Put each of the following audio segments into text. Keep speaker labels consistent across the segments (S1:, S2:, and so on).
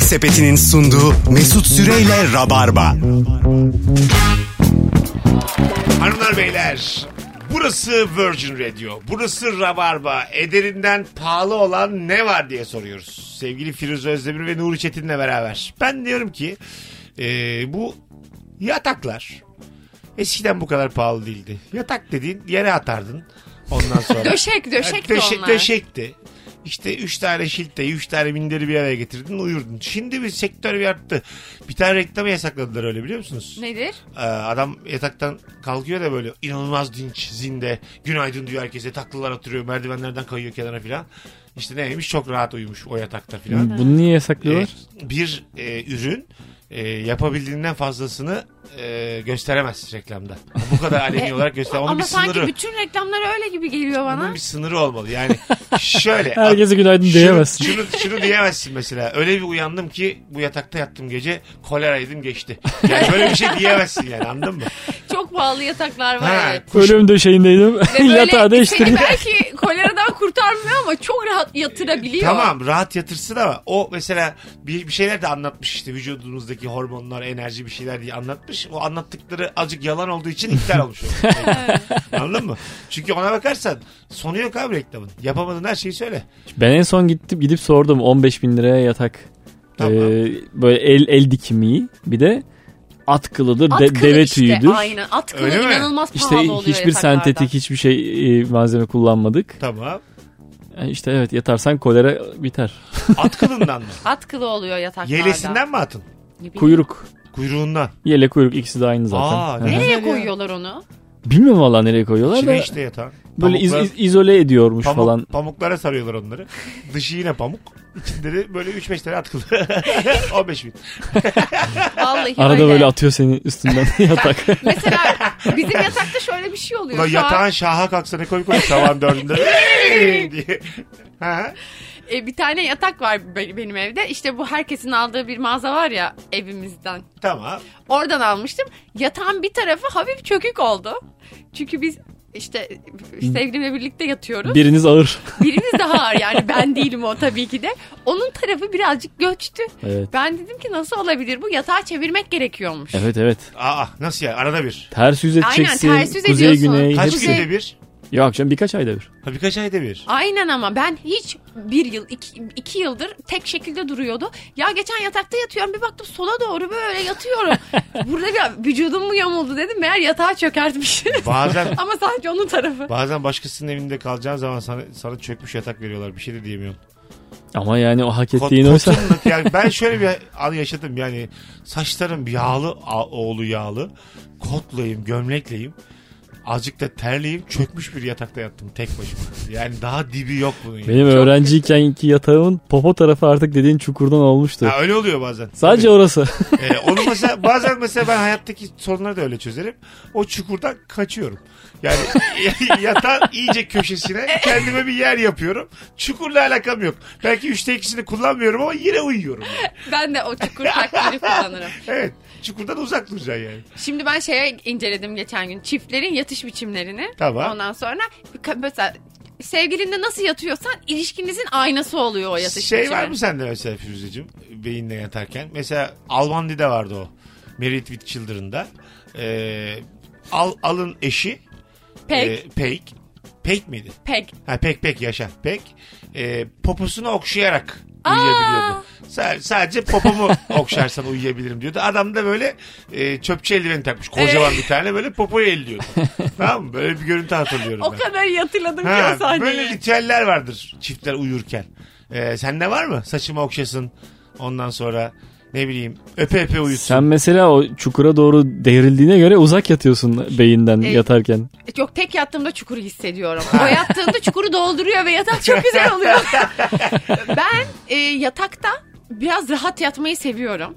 S1: Sepeti'nin sunduğu Mesut Süreyle Rabarba.
S2: Hanımlar beyler burası Virgin Radio burası Rabarba ederinden pahalı olan ne var diye soruyoruz. Sevgili Firuze Özdemir ve Nuri Çetin'le beraber. Ben diyorum ki e, bu yataklar eskiden bu kadar pahalı değildi. Yatak dediğin yere atardın ondan sonra.
S3: Döşek döşek de
S2: Yani döşe-
S3: onlar.
S2: Döşekti. İşte üç tane şilte, üç tane minderi bir araya getirdin uyurdun. Şimdi bir sektör bir arttı. Bir tane reklamı yasakladılar öyle biliyor musunuz?
S3: Nedir?
S2: Ee, adam yataktan kalkıyor da böyle inanılmaz dinç zinde. Günaydın diyor herkese taklılar oturuyor merdivenlerden kayıyor kenara filan. İşte neymiş çok rahat uyumuş o yatakta filan.
S4: Bunu niye
S2: Ee,
S4: yasaklıyorlar?
S2: bir e, ürün e, yapabildiğinden fazlasını e, gösteremez reklamda. Bu kadar aleni olarak göster. Onun bir
S3: E, Ama sanki
S2: sınırı.
S3: bütün reklamlar öyle gibi geliyor bana.
S2: Bunun bir sınırı olmalı. Yani
S3: E,
S2: şöyle.
S4: Herkese günaydın
S2: şunu-
S4: diyemezsin.
S2: Şunu, şunu diyemezsin mesela. Öyle bir uyandım ki bu yatakta yattım gece koleraydım geçti. Yani böyle bir şey diyemezsin yani anladın mı?
S3: Çok pahalı yataklar var
S2: Ha,
S3: evet.
S4: Bölüm döşeğindeydim.
S3: Ve böyle şey-
S4: Yatağı
S3: seni
S4: değiştirdim.
S3: belki koleradan kurtarmıyor ama çok rahat yatırabiliyor.
S2: Tamam rahat yatırsın ama o mesela bir, bir şeyler de anlatmış işte vücudumuzdaki hormonlar enerji bir şeyler diye anlatmış. O anlattıkları azıcık yalan olduğu için iptal olmuş. o. Anladın mı? Çünkü ona bakarsan sonu yok abi reklamın. Yapamadığın her şeyi söyle.
S4: Ben en son gittim gidip sordum 15 bin liraya yatak.
S2: Tamam.
S4: Ee, böyle el el dikimi bir de at kılıdır,
S3: At
S4: de-
S3: kılı
S4: deve
S3: işte,
S4: tüyüdür.
S3: Aynen at kılı
S2: Öyle mi?
S3: inanılmaz
S4: İşte
S3: pahalı oluyor
S4: hiçbir
S3: yataklarda.
S4: sentetik hiçbir şey e, malzeme kullanmadık.
S2: Tamam.
S4: Yani işte evet yatarsan kolera biter.
S2: At kılından mı?
S3: At kılı oluyor yataklarda.
S2: Yelesinden mi atın?
S3: Ne bileyim.
S4: Kuyruk.
S2: Kuyruğundan.
S4: Yele kuyruk ikisi de aynı zaten.
S2: Aa,
S4: Hı.
S2: ne-
S3: Nereye
S2: Güzel ya.
S3: koyuyorlar onu?
S4: Bilmiyorum valla nereye koyuyorlar da
S2: İçine işte yatan.
S4: böyle iz-
S2: Pamuklar-
S4: iz- izole ediyormuş
S2: pamuk-
S4: falan.
S2: Pamuklara sarıyorlar onları. Dışı yine pamuk. İçinde de böyle 3-5 tane at kılı. 15 bin.
S3: Vallahi
S4: Arada
S3: öyle.
S4: böyle atıyor seni üstünden yatak.
S3: Mesela bizim yatakta şöyle bir şey oluyor.
S2: Ulan
S3: Şu an-
S2: yatağın şaha kalksa ne komik olur sabahın dördünde. diye. Ha?
S3: E, bir tane yatak var be- benim evde. İşte bu herkesin aldığı bir mağaza var ya evimizden.
S2: Tamam.
S3: Oradan almıştım. Yatağın bir tarafı hafif çökük oldu. Çünkü biz işte sevgilimle birlikte yatıyoruz.
S4: Biriniz ağır.
S3: Birimiz daha ağır yani ben değilim o tabii ki de. Onun tarafı birazcık göçtü.
S4: Evet.
S3: Ben dedim ki nasıl olabilir bu yatağı çevirmek gerekiyormuş.
S4: Evet evet.
S2: Aa nasıl ya arada bir.
S4: Ters yüz edeceksin.
S3: ters yüz
S4: kuzey
S3: ediyorsun.
S4: güney.
S2: Kaç
S4: hepsi.
S2: günde bir?
S4: Yok canım birkaç ayda bir.
S2: Ha, birkaç ayda bir.
S3: Aynen ama ben hiç bir yıl, iki, iki yıldır tek şekilde duruyordu. Ya geçen yatakta yatıyorum bir baktım sola doğru böyle yatıyorum. Burada bir vücudum mu yamuldu dedim. Meğer yatağa çökertmiş.
S2: Bazen
S3: ama sadece onun tarafı.
S2: bazen başkasının evinde kalacağın zaman sana, sana çökmüş yatak veriyorlar. Bir şey de diyemiyorum.
S4: Ama yani o hak
S2: Kot-
S4: ettiğin oysa.
S2: kotunluk yani ben şöyle bir an yaşadım yani saçlarım yağlı a- oğlu yağlı kotlayım gömlekleyim azıcık da terleyim çökmüş bir yatakta yattım tek başıma yani daha dibi yok bunun yani.
S4: Benim öğrenciykenki yatağımın popo tarafı artık dediğin çukurdan olmuştu.
S2: Ha, öyle oluyor bazen.
S4: Sadece orası.
S2: Ee, onu mesela bazen mesela ben hayattaki sorunları da öyle çözerim. O çukurdan kaçıyorum. Yani yatağın iyice köşesine kendime bir yer yapıyorum. Çukurla alakam yok. Belki üçte ikisini kullanmıyorum ama yine uyuyorum. yani.
S3: Ben de o çukur taktiğini kullanırım.
S2: Evet. Çukurdan uzak duracaksın yani.
S3: Şimdi ben şeye inceledim geçen gün. Çiftlerin yatış biçimlerini.
S2: Tamam.
S3: Ondan sonra ka- mesela sevgilinle nasıl yatıyorsan ilişkinizin aynası oluyor o yatış
S2: Şey
S3: biçimi.
S2: var mı sende mesela Firuzeciğim beyinle yatarken? Mesela Almandi'de vardı o. Married with Children'da. Ee, al, alın eşi.
S3: Pek,
S2: e, pek. Pek miydi?
S3: pek.
S2: Ha, pek pek yaşa. Pek. Ee, poposunu okşayarak
S3: Aa!
S2: uyuyabiliyordu. Sa- sadece popomu okşarsan uyuyabilirim diyordu. Adam da böyle e, çöpçü eldiveni takmış. Kocaman bir tane böyle popoyu elliyordu. tamam mı? Böyle bir görüntü hatırlıyorum
S3: O
S2: ben.
S3: kadar iyi hatırladım ki o
S2: Ha,
S3: sahneyi.
S2: böyle ritüeller vardır çiftler uyurken. Ee, sende var mı? Saçımı okşasın. Ondan sonra ne bileyim öpe öpe uyusun.
S4: Sen mesela o çukura doğru devrildiğine göre uzak yatıyorsun beyinden
S3: Evet.
S4: yatarken.
S3: Çok tek yattığımda çukuru hissediyorum. O yattığımda çukuru dolduruyor ve yatak çok güzel oluyor. ben e, yatakta biraz rahat yatmayı seviyorum.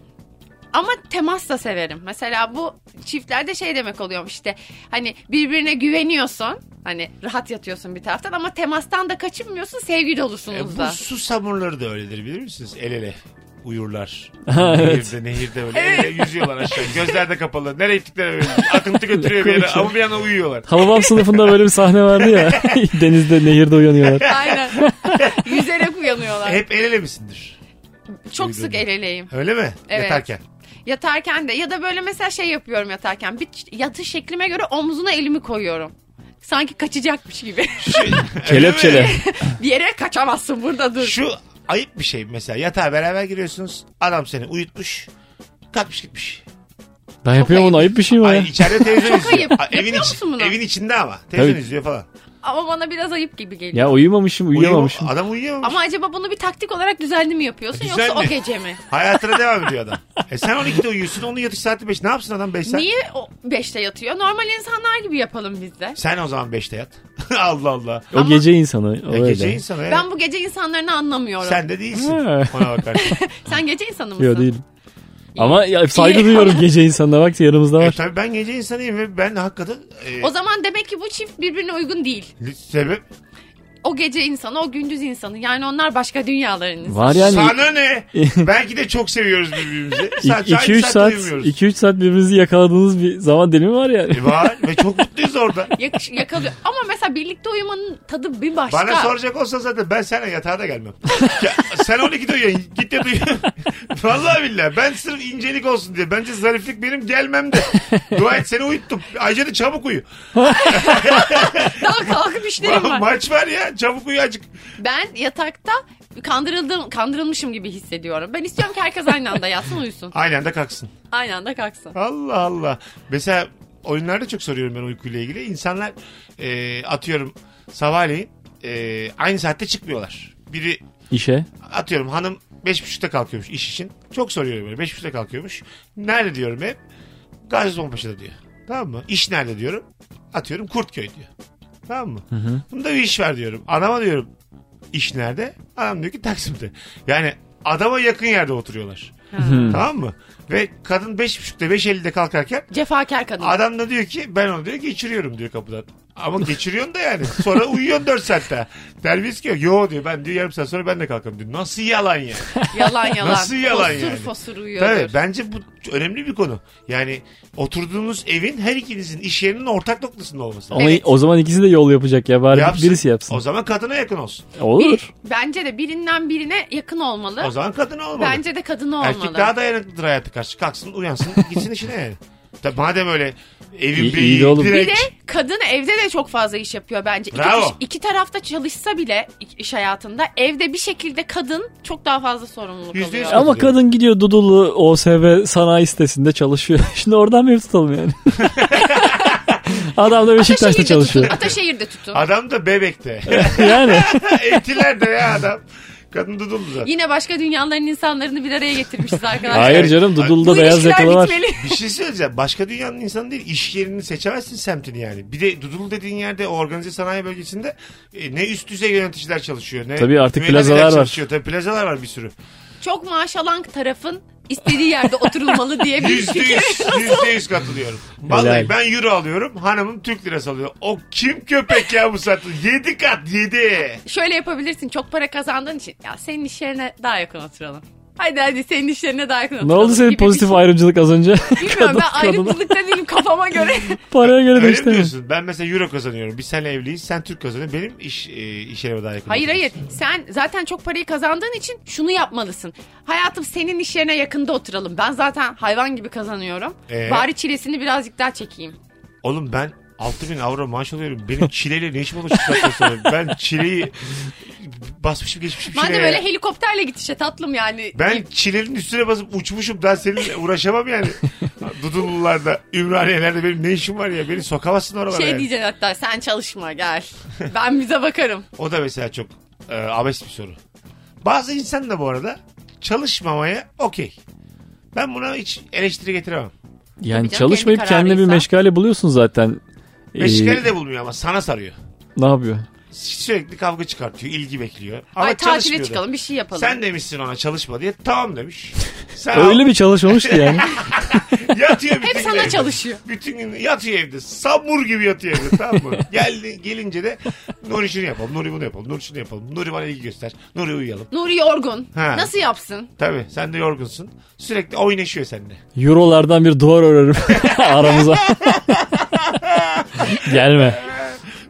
S3: Ama temas da severim. Mesela bu çiftlerde şey demek oluyormuş işte. Hani birbirine güveniyorsun. Hani rahat yatıyorsun bir taraftan ama temastan da kaçınmıyorsun. Sevgi
S2: Ee,
S3: dolusunuz
S2: bu
S3: da.
S2: su samurları da öyledir bilir misiniz? El ele uyurlar.
S4: Ha, evet.
S2: Nehirde nehirde öyle el ele yüzüyorlar aşağı. Gözler de kapalı. Nereye gittikleri böyle. Akıntı götürüyor bir yere ama bir yana uyuyorlar.
S4: Hababam sınıfında böyle bir sahne vardı ya. Denizde, nehirde uyanıyorlar.
S2: E,
S3: Aynen. Yüzerek uyanıyorlar.
S2: Hep el ele misindir?
S3: Çok
S2: Uyudun
S3: sık
S2: mu?
S3: el eleyim.
S2: Öyle mi?
S3: Evet.
S2: Yatarken.
S3: Yatarken de ya da böyle mesela şey yapıyorum yatarken. Bir yatış şeklime göre omzuna elimi koyuyorum. Sanki kaçacakmış gibi.
S2: Öyle
S4: Kelepçele.
S2: mi?
S3: bir yere kaçamazsın burada dur.
S2: Şu ayıp bir şey mesela. Yatağa beraber giriyorsunuz. Adam seni uyutmuş. Kalkmış gitmiş.
S4: Ben yapıyorum onu ayıp bir şey mi o ya?
S2: Ay içeride televizyon
S3: Çok ayıp.
S2: izliyor. Aa, Evin,
S3: Yapıyor
S2: iç-
S3: musun bunu?
S2: evin içinde ama. Televizyon
S4: Tabii.
S2: izliyor falan.
S3: Ama bana biraz ayıp gibi geliyor.
S4: Ya uyumamışım uyuyamamışım.
S2: Uyuyor- adam uyuyamamış.
S3: Ama acaba bunu bir taktik olarak düzenli mi yapıyorsun
S2: Düzenli.
S3: yoksa o gece mi?
S2: Hayatına devam ediyor adam. E sen 12'de uyuyorsun. Onun yatış saati 5. Ne yapsın adam 5 saat?
S3: Niye o 5'te yatıyor? Normal insanlar gibi yapalım biz de.
S2: Sen o zaman 5'te yat. Allah Allah.
S4: O
S3: Ama-
S4: gece insanı. O
S2: Ya
S4: öyle.
S2: gece insanı. evet.
S3: Ben bu gece insanlarını anlamıyorum. Sen,
S2: Sen de değilsin.
S4: Ha.
S2: Ona bakarsın.
S3: gece insanı mısın?
S4: Yok değil. Ama ya, saygı
S3: İyi.
S4: duyuyorum gece insanına bak yanımızda
S2: e
S4: var.
S2: tabii ben gece insanıyım ve ben hakikaten... E,
S3: O zaman demek ki bu çift birbirine uygun değil.
S2: sebep...
S3: O gece insanı, o gündüz insanı. Yani onlar başka dünyaların insanı.
S4: Var Hani yani
S2: Sana ne? Belki de çok seviyoruz birbirimizi. Sadece aynı
S4: 2-3 saat
S2: uyumuyoruz.
S4: 2-3 saat birbirinizi yakaladığınız bir zaman dilimi var yani.
S2: E var ve çok mutluyuz orada.
S3: Yakış- yakalıyor. Ama mesela birlikte uyumanın tadı bir başka.
S2: Bana soracak olsa zaten ben seninle yatağa da gelmem. Ya, sen 12 uyuyorsun. Git de uyu. Vallahi billahi. Ben sırf incelik olsun diye. Bence zariflik benim gelmem de. Dua et seni uyuttum. Ayrıca da çabuk uyu.
S3: Daha kalkıp işlerim var.
S2: Maç var ya. Çabuk uyu acık.
S3: Ben yatakta kandırıldım, kandırılmışım gibi hissediyorum. Ben istiyorum ki herkes aynı anda yatsın uyusun.
S2: Aynı anda kalksın.
S3: Aynı anda kalksın.
S2: Allah Allah. Mesela oyunlarda çok soruyorum ben uykuyla ilgili. İnsanlar e, atıyorum sabahleyin e, aynı saatte çıkmıyorlar. Biri
S4: İşe.
S2: atıyorum hanım 5.30'da kalkıyormuş iş için. Çok soruyorum böyle 5.30'da kalkıyormuş. Nerede diyorum hep. Gazi Paşa'da diyor. Tamam mı? İş nerede diyorum. Atıyorum Kurtköy diyor. Tamam mı? Bunda bir iş var diyorum. Anama diyorum iş nerede? Anam diyor ki Taksim'de. Yani adama yakın yerde oturuyorlar. Tamam mı? Ve kadın 5.30'da 5.50'de kalkarken
S3: Cefakar kadın.
S2: Adam da diyor ki ben onu diyor geçiriyorum diyor kapıdan. Ama geçiriyorsun da yani. Sonra uyuyorsun 4 saat daha. Terbiyesiz ki yok. yo diyor ben diyor yarım saat sonra ben de kalkarım diyor. Nasıl yalan ya?
S3: Yalan yalan.
S2: Nasıl yalan
S3: fosur
S2: yani?
S3: fosur uyuyordur.
S2: Tabii bence bu önemli bir konu. Yani oturduğunuz evin her ikinizin iş yerinin ortak noktasında olması. lazım.
S4: Ama
S3: Evet.
S4: o zaman ikisi de yol yapacak ya bari
S2: Yapsın.
S4: birisi yapsın.
S2: O zaman kadına yakın olsun.
S4: Olur.
S3: Bir- bence de birinden birine yakın olmalı.
S2: O zaman kadın olmalı.
S3: Bence de kadın olmalı.
S2: Erkek daha dayanıklıdır hayatı karşı. Kalksın uyansın gitsin işine yani. Tabii madem öyle evin
S4: İyi-
S2: bir
S4: iyi de oğlum.
S3: Bir
S2: direkt-
S3: de kadın evde de çok fazla iş yapıyor bence. İki,
S2: Bravo.
S3: iş- iki tarafta çalışsa bile iş- iş hayatında evde bir şekilde kadın çok daha fazla sorumluluk
S2: Yüzde yüz.
S3: alıyor.
S4: Ama kadın gidiyor Dudullu OSB sanayi sitesinde çalışıyor. Şimdi oradan bir tutalım yani. Adam da Beşiktaş'ta
S3: Ataşehir'de
S4: çalışıyor.
S3: Tutun, Ataşehir'de tutun.
S2: Adam da bebekte.
S4: yani
S2: Etiler de ya adam. Kadın duduldu zaten.
S3: Yine başka dünyaların insanlarını bir araya getirmişiz arkadaşlar.
S4: hayır canım
S3: Bu
S4: Dudullu'da beyaz
S3: ilişkiler
S4: yakalı var.
S3: bitmeli.
S2: Bir şey söyleyeceğim. Başka dünyanın insanı değil. İş yerini seçemezsin semtini yani. Bir de Dudullu dediğin yerde o organize sanayi bölgesinde e, ne üst düzey yöneticiler çalışıyor. Ne
S4: Tabii artık
S2: mühendisler
S4: plazalar var.
S2: çalışıyor. Tabii plazalar var bir sürü.
S3: Çok maaş alan tarafın istediği yerde oturulmalı diye bir
S2: Yüzde
S3: fikir.
S2: yüz. Yüzde yüz katılıyorum. Vallahi
S4: Helal.
S2: ben euro alıyorum. Hanımım Türk lirası alıyor. O kim köpek ya bu saatte? Yedi kat yedi.
S3: Şöyle yapabilirsin çok para kazandığın için ya senin iş yerine daha yakın oturalım. Hadi hadi senin işlerine daha yakın
S4: Ne
S3: oturalım.
S4: oldu senin
S3: gibi bir
S4: pozitif
S3: şey.
S4: ayrımcılık az önce?
S3: Bilmiyorum ben
S4: Kadın- kadına.
S3: ayrımcılıkta değilim kafama göre.
S4: Paraya göre
S2: Öyle mi
S4: değişti.
S2: diyorsun? Ben mesela euro kazanıyorum. Biz seninle evliyiz. Sen Türk kazanıyorsun. Benim iş, e, iş yerime daha yakın.
S3: Hayır
S2: oturuyorsun.
S3: hayır sen zaten çok parayı kazandığın için şunu yapmalısın. Hayatım senin iş yerine yakında oturalım. Ben zaten hayvan gibi kazanıyorum.
S2: Ee?
S3: Bari çilesini birazcık daha çekeyim.
S2: Oğlum ben 6000 avro maaş alıyorum. Benim çileyle ne işim olur şu saatten sonra? Ben çileyi basmışım geçmişim çileye.
S3: Madem öyle helikopterle git işte tatlım yani.
S2: ben çilenin üstüne basıp uçmuşum. Daha seninle uğraşamam yani. Dudullularda, Ümraniye'lerde benim ne işim var ya? Beni sokamazsın oralara.
S3: Şey
S2: yani.
S3: diyeceksin hatta sen çalışma gel. Ben bize bakarım.
S2: O da mesela çok e, abes bir soru. Bazı insan da bu arada çalışmamaya okey. Ben buna hiç eleştiri getiremem.
S4: Yani
S3: kendi
S4: çalışmayıp kendine bir
S3: kararıysa.
S4: meşgale buluyorsun zaten. Ee,
S2: Meşgale de bulmuyor ama sana sarıyor.
S4: Ne yapıyor?
S2: Sürekli kavga çıkartıyor, ilgi bekliyor. Ama
S3: Ay tatile
S2: çalışmıyor da.
S3: çıkalım bir şey yapalım.
S2: Sen demişsin ona çalışma diye. Tamam demiş. Sen
S4: Öyle bir çalışmamış ki yani.
S2: yatıyor bütün
S3: Hep
S2: gün
S3: sana
S2: evde.
S3: çalışıyor.
S2: Bütün gün yatıyor evde. Samur gibi yatıyor evde tamam mı? Geldi, gelince de Nuri şunu yapalım, Nuri bunu yapalım, Nuri şunu yapalım. Nuri bana ilgi göster, Nuri uyuyalım.
S3: Nuri yorgun.
S2: Ha.
S3: Nasıl yapsın?
S2: Tabii sen de yorgunsun. Sürekli oynaşıyor seninle.
S4: Eurolardan bir duvar örerim aramıza. Gelme.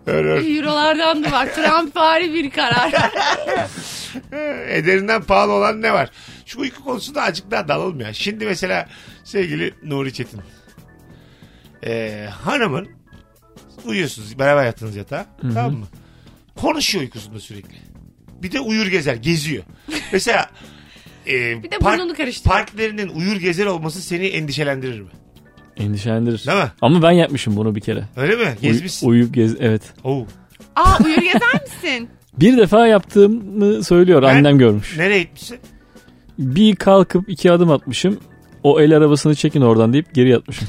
S2: Öyle öyle.
S3: Eurolardandı bak. Trumpvari bir karar.
S2: Ederinden Ee, pahalı olan ne var? Şu uyku konusunda azıcık daha dalalım ya. Şimdi mesela sevgili Nuri Çetin. Ee, hanımın uyuyorsunuz beraber yattınız yatağa. Tamam mı? Konuşuyor uykusunda sürekli. Bir de uyur gezer geziyor. Mesela e,
S3: Bir de
S2: park-
S3: burnunu karıştırıyor.
S2: partnerinin uyur gezer olması seni endişelendirir mi?
S4: Endişelendirir.
S2: Değil mi?
S4: Ama ben yapmışım bunu bir kere.
S2: Öyle mi?
S4: Uy-
S2: Gezmişsin.
S4: uyuyup gez evet.
S2: Oo.
S3: Aa uyur gezer misin?
S4: Bir defa yaptığımı söylüyor
S2: Ben-
S4: annem görmüş.
S2: Nereye gitmişsin?
S4: Bir kalkıp iki adım atmışım. O el arabasını çekin oradan deyip geri yatmışım.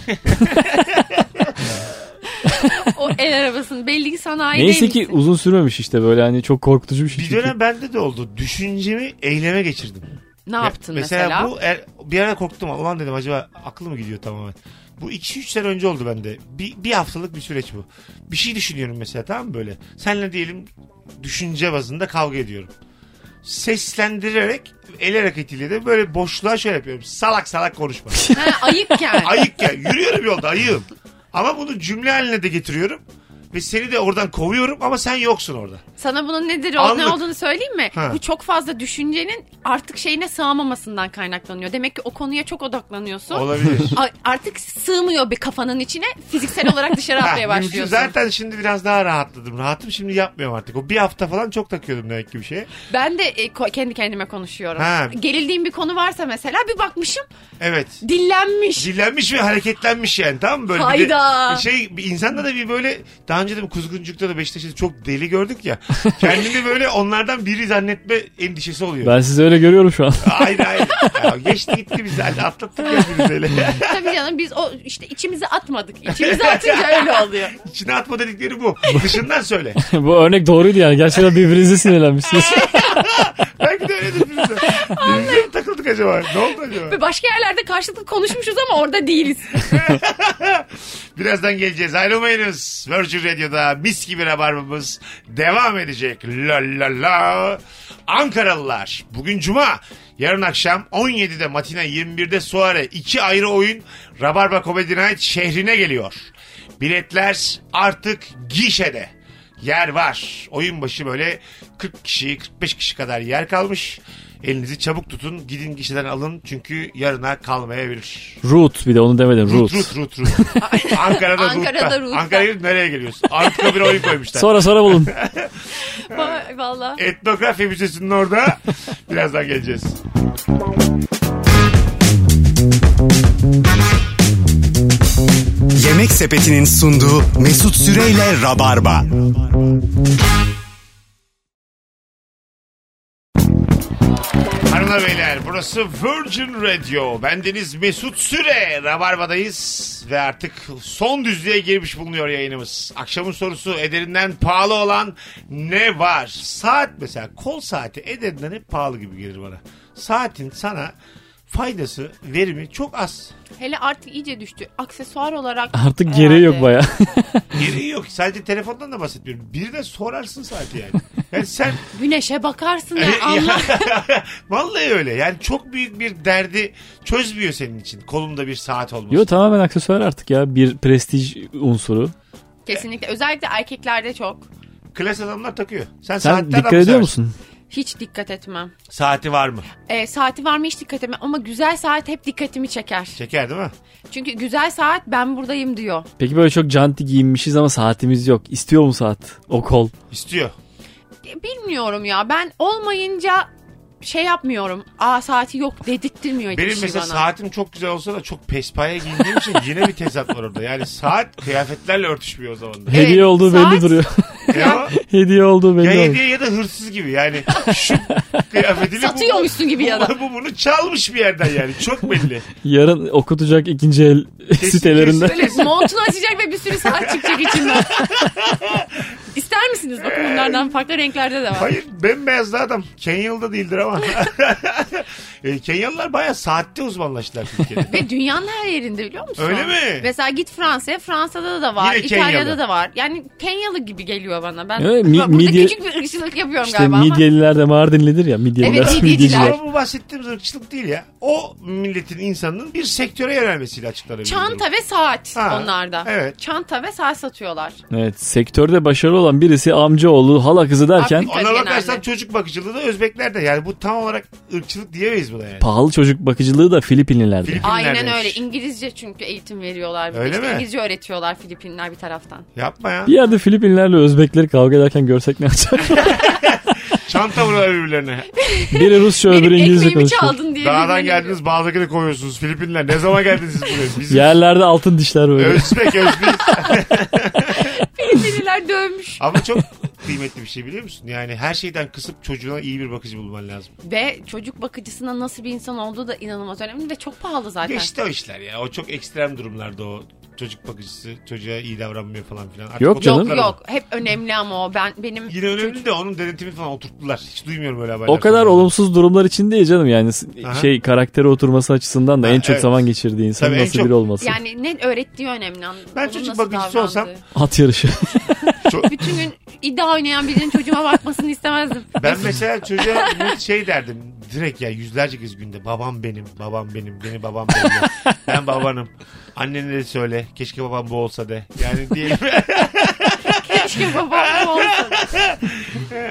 S3: O el arabasını belli ki sanayi
S4: Neyse ki uzun sürmemiş işte böyle hani çok korkutucu bir şey.
S2: Bir
S4: çünkü.
S2: dönem bende de oldu. Düşüncemi eyleme geçirdim.
S3: Ne
S2: Ya,
S3: yaptın mesela?
S2: bu er- bir ara korktum. Ulan dedim acaba aklı mı gidiyor tamamen. Bu 2-3 sene önce oldu bende. Bir, bir haftalık bir süreç bu. Bir şey düşünüyorum mesela tamam mı böyle. Senle diyelim düşünce bazında kavga ediyorum. Seslendirerek el hareketiyle de böyle boşluğa şöyle yapıyorum. Salak salak konuşma.
S3: Ha, ayıkken.
S2: Ayık ya. Yürüyorum yolda ayığım. Ama bunu cümle haline de getiriyorum. Ve seni de oradan kovuyorum ama sen yoksun orada.
S3: Sana bunun nedir o-
S2: Anlık.
S3: ne olduğunu söyleyeyim mi?
S2: Ha.
S3: Bu çok fazla düşüncenin artık şeyine sığamamasından kaynaklanıyor. Demek ki o konuya çok odaklanıyorsun.
S2: Olabilir.
S3: A- artık sığmıyor bir kafanın içine. Fiziksel olarak dışarı
S2: Ha,
S3: atmaya
S2: mümkün.
S3: başlıyorsun.
S2: Zaten şimdi biraz daha rahatladım. Rahatım şimdi yapmıyorum artık. O bir hafta falan çok takıyordum demek ki bir şeye.
S3: Ben de e, ko- kendi kendime konuşuyorum.
S2: Ha.
S3: Gerildiğim bir konu varsa mesela bir bakmışım
S2: Evet.
S3: dillenmiş.
S2: Dillenmiş ve hareketlenmiş yani tamam mı? Böyle bir de-
S3: Hayda.
S2: şey bir insanda da bir böyle daha önce de bu Kuzguncuk'ta da Beşiktaş'ta çok deli gördük ya. Kendimi böyle onlardan biri zannetme endişesi oluyor.
S4: Ben sizi öyle görüyorum şu an.
S2: Hayır hayır. Ya geçti gitti biz zaten atlattık ya biz öyle.
S3: Tabii canım biz o işte içimize atmadık. İçimize atınca öyle oluyor.
S2: İçine atma dedikleri bu. Dışından söyle.
S4: Bu örnek doğruydu yani. Gerçekten birbirinize sinirlenmişsiniz.
S2: Belki de öyledir biz de. Birbirimize mi takıldık acaba? Ne oldu acaba?
S3: Ve Başka yerlerde karşılıklı konuşmuşuz ama orada değiliz.
S2: Birazdan geleceğiz. Ayrılmayınız. Virgin Radio'da mis gibi rabarbamız devam edecek. La la la. Ankaralılar. Bugün cuma. Yarın akşam 17'de matina 21'de Suare iki ayrı oyun Rabarba Comedy Night şehrine geliyor. Biletler artık gişede. Yer var. Oyun başı böyle 40 kişi 45 kişi kadar yer kalmış. Elinizi çabuk tutun. Gidin gişeden alın. Çünkü yarına kalmayabilir.
S4: Root bir de onu demedim. Root.
S2: Rut rut rut rut. Ankara'da, Rut'ta.
S3: Ankara'da Rut'ta.
S2: Ankara'ya gidip nereye geliyorsun? Anıtkabir'e oyun koymuşlar.
S4: Sonra sonra bulun.
S3: Vay, Vallahi.
S2: Etnografi Müzesi'nin orada. Birazdan geleceğiz.
S1: Yemek Sepeti'nin sunduğu Mesut Süreyle Rabarba.
S2: Hanımlar beyler burası Virgin Radio. Bendeniz Mesut Süre. Rabarba'dayız ve artık son düzlüğe girmiş bulunuyor yayınımız. Akşamın sorusu ederinden pahalı olan ne var? Saat mesela kol saati ederinden hep pahalı gibi gelir bana. Saatin sana faydası, verimi çok az.
S3: Hele artık iyice düştü. Aksesuar olarak.
S4: Artık
S3: herhalde.
S4: gereği yok baya.
S2: Gereği yok. Sadece telefondan da bahsetmiyorum. Bir de sorarsın saati yani. Yani sen
S3: Güneşe bakarsın ya. Allah.
S2: vallahi öyle. Yani çok büyük bir derdi çözmüyor senin için. Kolumda bir saat olması.
S4: Yo tamamen aksesuar artık ya. Bir prestij unsuru.
S3: Kesinlikle. Özellikle erkeklerde çok.
S2: Klas adamlar takıyor. Sen,
S4: Sen
S2: saatten
S4: dikkat
S2: adam
S4: ediyor
S2: seversin.
S4: musun?
S3: Hiç dikkat etmem.
S2: Saati var mı?
S3: Ee, saati var mı hiç dikkat etmem. Ama güzel saat hep dikkatimi çeker.
S2: Çeker değil mi?
S3: Çünkü güzel saat ben buradayım diyor.
S4: Peki böyle çok canti giyinmişiz ama saatimiz yok. İstiyor mu saat? O kol.
S2: İstiyor.
S3: E, Bilmiyorum ya. Ben olmayınca şey yapmıyorum. Aa saati yok dedirttirmiyor hiçbir
S2: Benim
S3: şey
S2: mesela
S3: bana.
S2: saatim çok güzel olsa da çok pespaya giyindiğim için yine bir tezat var orada. Yani saat kıyafetlerle örtüşmüyor o zaman da.
S3: Evet,
S4: Hediye olduğu belli
S3: saat-
S4: duruyor.
S2: E o,
S4: Hediye olduğu
S2: ya
S4: belli olmuyor.
S2: hediye ya da hırsız gibi yani. Şu kıyafetiyle bu-
S3: Satıyormuşsun gibi ya da.
S2: bu bunu çalmış bir yerden yani. Çok belli.
S4: Yarın okutacak ikinci el sitelerinde.
S3: Böyle montunu açacak ve bir sürü saat çıkacak içinden. İster misin görebilirsiniz. Bakın bunlardan farklı renklerde de var.
S2: Hayır bembeyazlı adam. Kenyalı da değildir ama. e, Kenyalılar baya saatte uzmanlaştılar Türkiye'de.
S3: Ve dünyanın her yerinde biliyor musun?
S2: Öyle mi?
S3: Mesela git Fransa'ya. Fransa'da da var.
S2: Yine
S3: İtalya'da
S2: Kenyalı.
S3: da var. Yani Kenyalı gibi geliyor bana. Ben
S4: Evet, mi-
S3: burada
S4: midye-
S3: küçük bir ırkçılık yapıyorum
S4: İşte
S3: galiba ama.
S4: Midyeliler de Mardinlidir ya. Midyeliler,
S3: Evet, Midyeciler.
S4: Midyeciler.
S2: Ama bu bahsettiğimiz ırkçılık değil ya. O milletin insanının bir sektöre yönelmesiyle açıklanabilir.
S3: Çanta ve saat
S2: Ha,
S3: onlarda.
S2: evet.
S3: Çanta ve saat satıyorlar.
S4: Evet sektörde başarılı olan birisi amcaoğlu, hala kızı derken
S3: Hakikaten.
S2: Ona bakarsan
S3: Genelde.
S2: çocuk bakıcılığı da Özbekler de. Yani bu tam olarak ırkçılık diyemeyiz buna yani.
S4: pahalı çocuk bakıcılığı da Filipinlilerde.
S2: Filipinler
S3: Aynen
S2: demiş.
S3: öyle. İngilizce çünkü eğitim veriyorlar. Bir de
S2: Öyle
S3: işte
S2: mi?
S3: İngilizce öğretiyorlar Filipinler bir taraftan.
S2: Yapma ya.
S4: Bir yerde Filipinlerle Özbekleri kavga ederken görsek ne olacak?
S2: Çanta vuruyorlar birbirlerine.
S4: Biri Rusça
S3: Benim
S4: öbürü İngilizce
S3: ekmeğimi
S4: konuşuyor.
S3: çaldın diye. birbirine
S2: Dağdan
S3: giriyor.
S2: geldiniz bağdakini koyuyorsunuz. Filipinler ne zaman geldiniz siz buraya? Bizim
S4: Yerlerde altın dişler böyle.
S2: Özbek Özbek.
S3: Filipinliler dövmüş.
S2: Ama çok kıymetli bir şey biliyor musun? Yani her şeyden kısıp çocuğuna iyi bir bakıcı bulman lazım.
S3: Ve çocuk bakıcısına nasıl bir insan olduğu da inanılmaz önemli ve çok pahalı zaten.
S2: Geçti o işler ya. O çok ekstrem durumlarda o. Çocuk bakıcısı çocuğa iyi davranmıyor falan filan. Artık
S4: Yok
S2: o
S4: canım.
S2: toplar
S3: Yok
S2: ama.
S3: yok hep önemli ama o ben benim
S2: Yine önemli de onun denetimi falan oturttular. Hiç duymuyorum öyle haberler.
S4: O kadar
S2: falan.
S4: olumsuz durumlar için değil canım yani s-
S2: Aha.
S4: şey karakteri oturması açısından da
S2: Ha,
S4: en çok
S2: evet.
S4: zaman geçirdiği insan
S2: Tabii en
S4: nasıl
S2: çok-
S4: biri olması.
S3: yani ne öğrettiği önemli. An-
S2: Ben
S3: onun
S2: çocuk
S3: nasıl
S2: bakıcısı
S3: davrandığı.
S2: olsam-
S4: At yarışı.
S3: Bütün gün iddia oynayan birinin çocuğuma bakmasını istemezdim.
S2: Ben mesela çocuğa bu şey derdim. Direkt ya yüzlerce kez günde babam benim, babam benim, beni babam benim. ben babanım. Annene de söyle. Keşke babam bu olsa de. Yani diyelim
S3: Keşke babam bu olsa.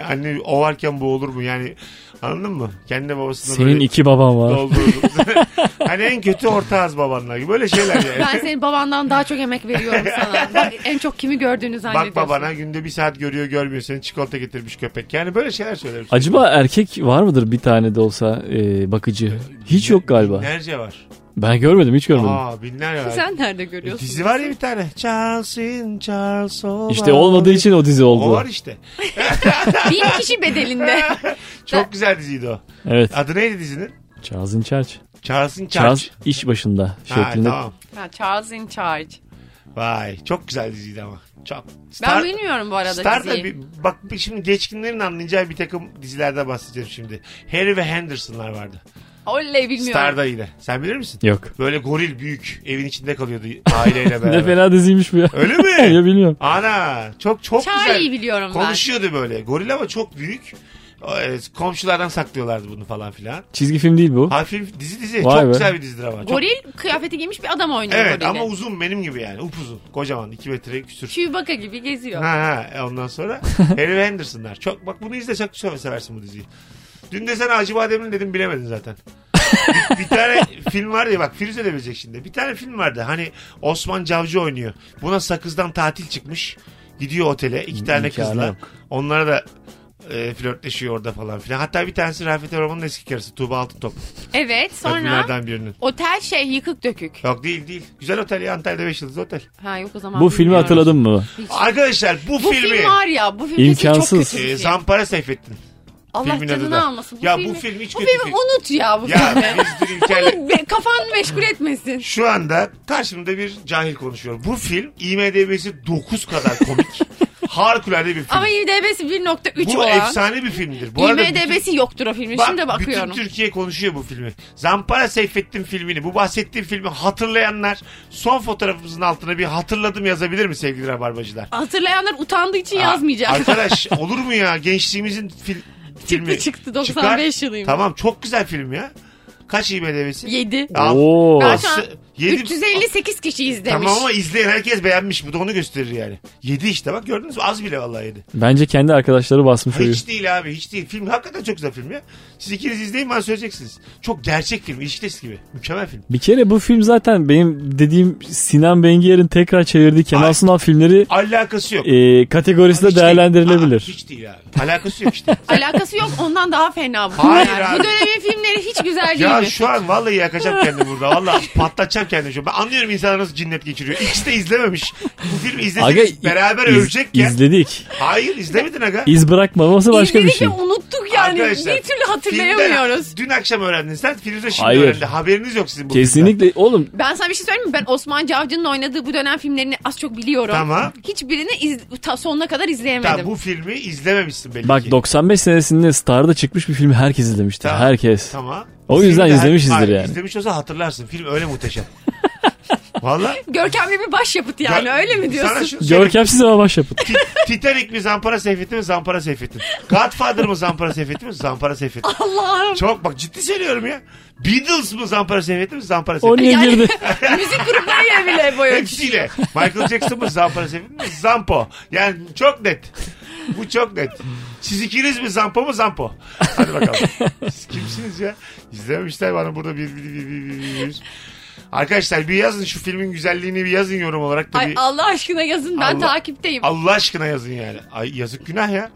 S2: anne o varken bu olur mu? Yani anladın mı? Kendi babasına
S4: Senin
S2: böyle
S4: iki baban var.
S2: doldurdu. hani en kötü orta az babanlar gibi. Böyle şeyler yani.
S3: Ben senin babandan daha çok emek veriyorum sana. Bak, en çok kimi gördüğünü
S2: Bak
S3: zannediyorsun.
S2: babana günde bir saat görüyor görmüyor seni çikolata getirmiş köpek. Yani böyle şeyler söylerim.
S4: Acaba erkek var mıdır bir tane de olsa e, bakıcı? Hiç yok galiba.
S2: Binlerce var.
S4: Ben görmedim hiç görmedim.
S2: Aa binlerce var.
S3: Sen nerede
S2: E,
S3: görüyorsun?
S2: dizi var ya bir tane. Charles'in Charles Oval.
S4: İşte olmadığı için o dizi
S2: O
S4: oldu.
S2: var işte.
S3: Bin kişi bedelinde.
S2: Çok güzel diziydi o.
S4: Evet.
S2: Adı neydi dizinin?
S4: Charles'ın Church.
S2: Charles'in Charles.
S4: Charles iş başında
S2: Ha,
S4: şeklinde.
S2: tamam.
S3: Ha, Charles in Charge.
S2: Vay çok güzel diziydi ama. Çok.
S3: Ben
S2: Star,
S3: bilmiyorum bu arada
S2: Star da
S3: diziyi.
S2: bir, bak bir şimdi geçkinlerin anlayacağı bir takım dizilerde bahsedeceğim şimdi. Harry ve Henderson'lar vardı.
S3: Oley bilmiyorum.
S2: Star'da yine. Sen bilir misin?
S4: Yok.
S2: Böyle goril büyük evin içinde kalıyordu aileyle
S4: Ne
S2: beraber.
S4: fena diziymiş bu ya.
S2: Öyle mi?
S4: ya bilmiyorum.
S2: Ana çok çok
S3: Charlie'yi
S2: güzel.
S3: biliyorum
S2: Konuşuyordu böyle. Goril ama çok büyük. Ee, Komşulardan saklıyorlardı bunu falan filan.
S4: Çizgi film değil bu.
S2: Hafif dizi dizi.
S4: Vay
S2: çok
S4: be.
S2: güzel bir dizidir ama. Çok-
S3: ben. Goril kıyafeti giymiş bir adam oynuyor
S2: Evet
S3: gorili.
S2: ama uzun benim gibi yani. Upuzun. Kocaman. 2 metre küsür.
S3: Chewbacca gibi geziyor.
S2: Ha ha. E, Ondan sonra Harry ve Henderson'lar. Çok, bak bunu izle çok çok seversin bu diziyi. Dün de sen Hacı Badem'in dedim bilemedin zaten. bir, bir tane film var ya bak Firuze de bilecek şimdi. Bir tane film vardı. Hani Osman Cavcı oynuyor. Buna sakızdan tatil çıkmış. Gidiyor otele. iki tane
S4: İmkanı
S2: kızla.
S4: yok.
S2: Onlara da e, flörtleşiyor orada falan filan. Hatta bir tanesi Rafet Erman'ın eski karısı Tuğba Altıntop.
S3: Evet sonra
S2: Kadınlardan birinin.
S3: otel şey yıkık dökük.
S2: Yok değil değil. Güzel otel ya Antalya'da 5 yıldız otel.
S3: Ha yok o zaman.
S4: Bu filmi
S3: bilmiyorum.
S4: hatırladın mı?
S2: Arkadaşlar bu,
S3: Bu
S2: filmi
S3: film var ya bu film
S4: İmkansız.
S3: İmkansız. çok kötü
S2: e,
S3: bir film.
S2: Zampara Seyfettin.
S3: Allah
S2: filmin adı
S3: canını
S2: da.
S3: almasın. Bu
S2: Ya bu
S3: filmi,
S2: film hiç
S3: bu
S2: kötü
S3: filmi
S2: film.
S3: unut ya bu
S2: Ya
S3: filmi.
S2: biz dün İlker'le-
S3: Bunu be- kafanı meşgul etmesin.
S2: Şu anda karşımda bir cahil konuşuyor. Bu film IMDB'si 9 kadar komik. Harikulade bir film.
S3: Ama IMDB'si 1.3
S2: bu
S3: olan.
S2: efsane bir filmdir. Bu arada bütün-
S3: IMDB'si yoktur o filmin.
S2: Bak,
S3: Şimdi bakıyorum.
S2: Bütün Türkiye konuşuyor bu filmi. Zampara Seyfettin filmini, bu bahsettiğim filmi hatırlayanlar son fotoğrafımızın altına bir hatırladım yazabilir mi sevgili rabarbacılar?
S3: Hatırlayanlar utandığı için yazmayacak.
S2: Arkadaş olur mu ya gençliğimizin fil- filmi?
S3: çıktı,
S2: Çıkar.
S3: 95 yılıymış.
S2: Tamam çok güzel film ya. Kaç IMDB'si?
S3: 7.
S2: Al.
S4: Oo.
S2: Al.
S3: Şu an
S2: Yedi-
S3: 358 kişi izlemiş.
S2: Tamam ama izleyen herkes beğenmiş. Bu da onu gösterir yani. 7 işte bak gördünüz mü? Az bile vallahi 7.
S4: Bence kendi arkadaşları basmış oyu.
S2: Hiç değil abi hiç değil. Film hakikaten çok güzel film ya. Siz ikiniz izleyin bana söyleyeceksiniz. Çok gerçek film. İlişkidesi gibi. Mükemmel film.
S4: Bir kere bu film zaten benim dediğim Sinan Bengiyer'in tekrar çevirdiği
S2: Ay.
S4: Kemal Sunal filmleri
S2: Alakası yok.
S4: e, kategorisinde
S2: Hiç değil. Aa,
S4: değerlendirilebilir.
S2: hiç değil abi. Alakası yok işte.
S3: Alakası yok ondan daha fena bu.
S2: Hayır
S3: Yani
S2: abi.
S3: Bu dönemin filmleri hiç güzel değil.
S2: ya
S3: mi?
S2: şu an vallahi yakacağım kendimi burada. Vallahi patlatacağım kendimi şu an. Ben anlıyorum insanlar nasıl cinnet geçiriyor. İkisi de izlememiş. Bu filmi izlesek beraber
S4: iz-
S2: ölecekken.
S4: izledik.
S2: Hayır izlemedin aga.
S4: İz bırakmaması başka bir
S3: İzledik
S4: şey.
S3: ve unuttuk ya yani bir türlü hatırlayamıyoruz.
S2: Filmden- dün akşam öğrendin sen. Firuze şimdi
S4: Hayır.
S2: öğrendi. Haberiniz yok sizin bu filmden.
S4: Kesinlikle oğlum
S3: Ben sana bir şey söyleyeyim mi? Ben Osman Cavcı'nın oynadığı bu dönem filmlerini az çok biliyorum.
S2: Tamam.
S3: Hiçbirini iz, ta- sonuna kadar izleyemedim.
S2: Tamam, bu filmi izlememişsin belli ki.
S4: bak 95 senesinde Star'da çıkmış bir filmi herkes izlemişti.
S2: Tamam.
S4: Herkes.
S2: Tamam.
S4: O yüzden
S2: Filmi de-
S4: izlemişizdir
S2: Hayır,
S4: yani.
S2: İzlemiş olsa hatırlarsın. Film öyle muhteşem. Valla.
S3: Görkemli bir başyapıt yani
S2: Ya-
S3: öyle mi diyorsun?
S2: Sana şunu söyleyeyim.
S4: Görkemsiz ama baş yapın.
S2: Ti- Titanic mi Zampara Seyfettin mi Zampara Seyfettin. Godfather mı Zampara Seyfettin mi Zampara Seyfettin.
S3: Allah'ım.
S2: Çok bak ciddi söylüyorum ya. Beatles mı Zampara Seyfettin mi Zampara
S4: O
S2: Seyfettin.
S4: niye
S3: Yani-
S4: girdi?
S3: Müzik gruplarıyla bile bu ölçü.
S2: Hepsiyle. Michael Jackson mı Zampara Seyfettin mi Zampo. Yani çok net. Bu çok net. Siz ikiniz mi Zampo mu Zampo? Hadi bakalım. Siz kimsiniz ya? İzlememişler bana burada bir bir bir bir bir bir. Arkadaşlar bir yazın şu filmin güzelliğini bir yazın yorum olarak da
S3: Ay
S2: bir
S3: Allah aşkına yazın ben
S2: Allah-
S3: takipteyim.
S2: Allah aşkına yazın yani. Ay yazık günah ya.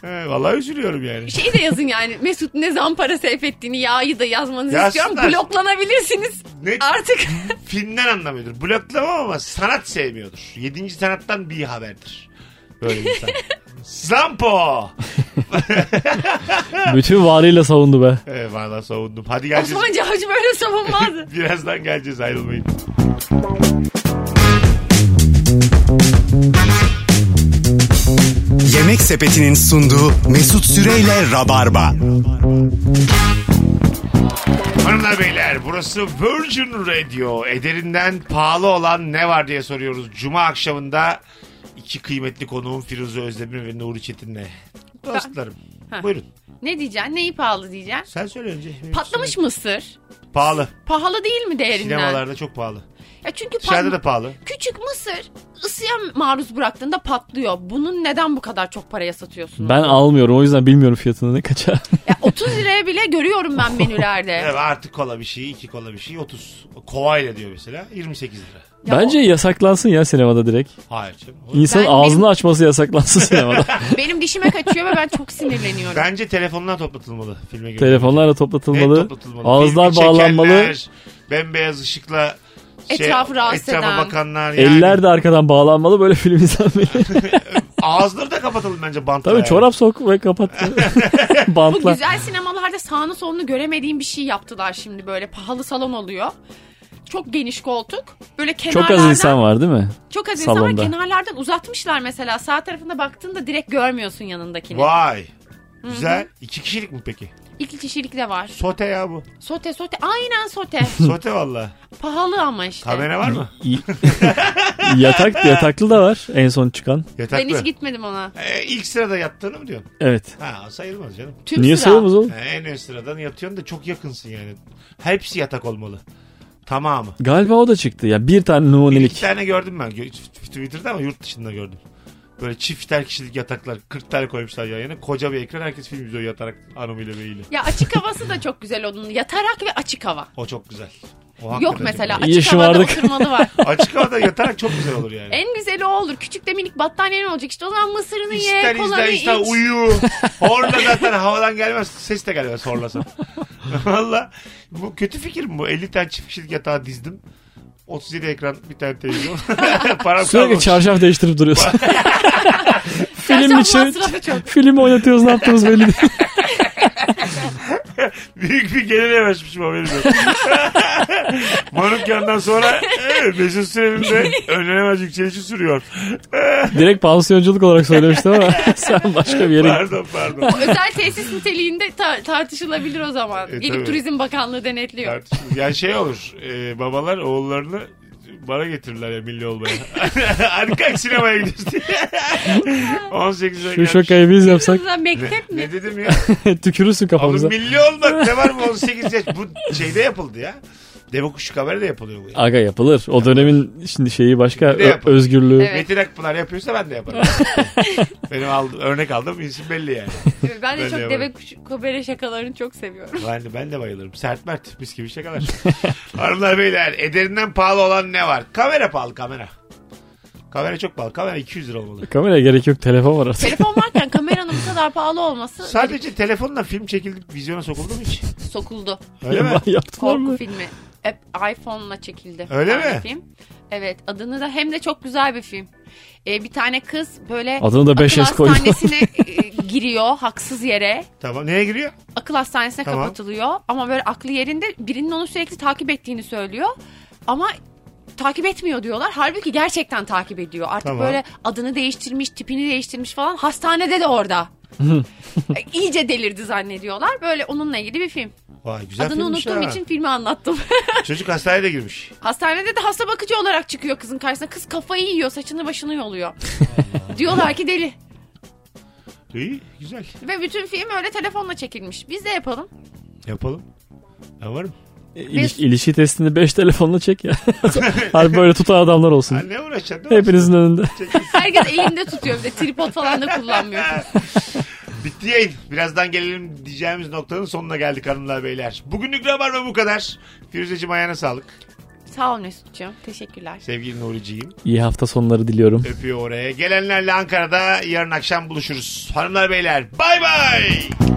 S2: He, vallahi üzülüyorum yani.
S3: Şey de yazın yani Mesut ne zampara seyfettiğini yağı da yazmanızı
S2: Yazsınlar.
S3: istiyorum. Bloklanabilirsiniz
S2: Ne?
S3: artık.
S2: filmden anlamıyordur. Bloklama ama sanat sevmiyordur. Yedinci sanattan bir haberdir. Böyle bir insan. Zampo!
S4: Bütün varıyla savundu be.
S2: Ee, valla savundum. Hadi geleceğiz.
S3: Osman Cavcı böyle savunmazdı.
S2: Birazdan geleceğiz ayrılmayın.
S1: Yemek Sepeti'nin sunduğu Mesut Süreyle Rabarba.
S2: Hanımlar beyler burası Virgin Radio. Ederinden pahalı olan ne var diye soruyoruz. Cuma akşamında iki kıymetli konuğum Firuze Özdemir ve Nuri Çetin'le. Dostlarım
S3: Ha.
S2: buyurun.
S3: ne diyeceksin? Neyi pahalı diyeceksin?
S2: Sen söyle önce. Benim
S3: Patlamış mısır.
S2: söyle. Pahalı.
S3: Pahalı değil mi değerinden?
S2: Sinemalarda çok pahalı.
S3: Ya çünkü pat-
S2: Dışarıda da pahalı.
S3: küçük mısır ısıya maruz bıraktığında patlıyor. Bunun neden bu kadar çok paraya satıyorsun?
S4: Ben almıyorum o yüzden bilmiyorum fiyatını ne kaça.
S3: Ya 30 liraya bile görüyorum ben menülerde.
S2: Evet, artı kola bir şey, iki kola bir şey 30. Kovayla diyor mesela 28 lira.
S3: Ya
S4: Bence yasaklansın ya sinemada direkt.
S2: Hayır canım. O-
S4: İnsan
S3: Ben-
S4: ağzını açması yasaklansın sinemada.
S3: Benim dişime kaçıyor ve ben çok sinirleniyorum.
S2: Bence telefondan toplatılmalı filme göre.
S4: Telefonlarla
S2: En
S4: toplatılmalı.
S2: toplatılmalı.
S4: Ağızlar
S2: Filmi
S4: bağlanmalı.
S2: çekenler, Bembeyaz ışıkla şey,
S3: Etrafı rahatsız
S2: etrafa
S3: eden.
S2: bakanlar. Yani.
S4: Eller de arkadan bağlanmalı böyle film izlenmeli.
S2: Ağızları da kapatalım bence bantla.
S4: Tabii
S2: yani.
S4: çorap sok ve kapat.
S3: Bu
S4: Bantla.
S3: güzel sinemalarda sağını solunu göremediğim bir şey yaptılar şimdi böyle pahalı salon oluyor. Çok geniş koltuk. Böyle kenarlardan
S4: Çok az insan var değil mi?
S3: çok az insan var.
S4: salonda.
S3: kenarlardan uzatmışlar mesela. Sağ tarafına baktığında direkt görmüyorsun yanındakini.
S2: Vay. Güzel. İki kişilik mi peki?
S3: İki kişilik de var.
S2: Sote ya bu.
S3: Sote sote. Aynen sote.
S2: Sote valla.
S3: pahalı ama işte.
S2: Kamera var mı?
S4: İ- Yatak yataklı da var en son çıkan.
S3: Ben
S2: Yataklı.
S3: hiç gitmedim ona.
S2: Ee, ilk sırada yattığını mı diyorsun?
S4: Evet.
S2: Ha sayılmaz canım.
S3: Tüm
S4: Niye
S3: sıra.
S4: sayılmaz oğlum?
S2: Ee, en ön sıradan yatıyorsun da çok yakınsın yani. Hepsi yatak olmalı. Tamamı.
S4: Galiba o da çıktı ya. Bir tane
S2: İki
S4: numunelik.
S2: tane gördüm ben. Gö- Twitter'da ama yurt dışında gördüm. Böyle çifter kişilik yataklar 40 tane koymuşlar yan yana. Koca bir ekran herkes film izliyor yatarak anamıyla beyiyle.
S3: Ya açık havası da çok güzel onun. Yatarak ve açık hava.
S2: O çok güzel. O
S3: Yok
S2: hakikaten
S3: mesela
S2: çok
S4: İyi
S3: açık havada
S4: şımardık.
S3: oturmalı var.
S2: güzel. Açık havada yatarak çok güzel olur yani.
S3: En güzeli o olur. Küçük de minik battaniyen olacak. İşte o zaman mısırını ye,
S2: İster
S3: kolanı
S2: izler ister
S3: iç.
S2: uyu. Horla zaten havadan gelmez. Ses de gelmez horlasan. Valla bu kötü fikir mi bu? 50 tane çift kişilik yatağı dizdim. 37 ekran bir tane televizyon. Param
S4: Sürekli
S2: kalmamış.
S4: çarşaf değiştirip duruyorsun. film
S3: Çarşaf
S4: için
S3: masrafı çok.
S4: film oynatıyoruz ne yaptığımız belli değil.
S2: Büyük bir gelir yavaşmışım haberim yok. Manukyan'dan sonra e, Mesut Süren'in de önlenemez yükselişi sürüyor.
S4: Direkt pansiyonculuk olarak söylemiştim ama sen başka bir yere
S2: Pardon pardon.
S3: Özel tesis niteliğinde ta- tartışılabilir o zaman.
S2: E,
S3: Gelip
S2: tabii.
S3: Turizm Bakanlığı denetliyor.
S2: Tartışılır. Yani şey olur. e, babalar oğullarını bana getirirler ya milli olmaya. Hadi kalk sinemaya gidiyoruz diye. 18
S4: Şu
S2: gelmiş.
S4: şakayı biz yapsak
S3: Kızlar mektep mi?
S2: Ne dedim ya?
S4: tükürürsün
S2: Oğlum
S4: kafamıza.
S2: milli olmak ne var mı 18 yaş? Bu şeyde yapıldı ya. Deve kuşu kamera da yapılıyor bu. ya.
S4: Aga yapılır. O dönemin şimdi şeyi başka
S2: Şimdi de
S4: ö-
S2: yapılır.
S4: özgürlüğü.
S3: Evet.
S2: Metin Akpınar yapıyorsa ben de yaparım. Benim aldım, örnek aldım isim belli yani.
S3: Ben de
S2: Ben
S3: çok
S2: de
S3: deve kuşu- kabere şakalarını çok seviyorum.
S2: Ben de, ben de bayılırım. Sert mert mis gibi şakalar. Hanımlar beyler ederinden pahalı olan ne var? Kamera pahalı kamera. Kamera çok pahalı. Kamera 200 lira olmalı.
S4: Kameraya gerek yok telefon var artık.
S3: Telefon varken kameranın bu kadar pahalı olması
S2: Sadece telefonla film çekildi vizyona sokuldu mu hiç?
S3: sokuldu.
S2: Öyle mi?
S4: Yaptılar mı?
S3: Korku filmi. e, iPhone'la çekildi.
S2: Öyle
S3: bir tane
S2: mi?
S3: Film. Evet adını da hem de çok güzel bir film. E, bir tane kız böyle
S4: Adını da 5S
S3: akıl
S4: koydum.
S3: hastanesine e, giriyor haksız yere.
S2: Tamam neye giriyor?
S3: Akıl hastanesine
S2: Tamam.
S3: kapatılıyor ama böyle aklı yerinde birinin onu sürekli takip ettiğini söylüyor. Ama takip etmiyor diyorlar. Halbuki gerçekten takip ediyor. Artık
S2: Tamam.
S3: böyle adını değiştirmiş, tipini değiştirmiş falan. Hastanede de orada. E, İyice delirdi zannediyorlar. Böyle onunla ilgili bir film.
S2: Vay güzel
S3: Adını
S2: filmmiş
S3: unuttuğum
S2: ha.
S3: için filmi anlattım.
S2: Çocuk hastaneye de girmiş.
S3: Hastanede de hasta bakıcı olarak çıkıyor kızın karşısına. Kız kafayı yiyor, saçını başını yoluyor. Diyorlar ki deli.
S2: İyi güzel.
S3: Ve bütün film öyle telefonla çekilmiş. Biz de yapalım.
S2: Yapalım. Ben varım.
S4: İliş, ilişki testini 5 telefonla çek ya. Harbi böyle tutan adamlar
S2: Ha,
S4: olsun.
S2: ne uğraşacaksın? Ne
S4: Hepinizin önünde.
S3: Herkes elinde tutuyor bir de tripod falan da kullanmıyor.
S2: Bitti yayın. Birazdan gelelim diyeceğimiz noktanın sonuna geldik hanımlar beyler. Bugünlük Rabarba bu kadar. Firuzeciğim ayağına sağlık.
S3: Sağ ol Mesut'cum. Teşekkürler.
S2: Sevgili Nuri'ciğim.
S4: İyi hafta sonları diliyorum.
S2: Öpüyor oraya. Gelenlerle Ankara'da yarın akşam buluşuruz. Hanımlar beyler bay bay.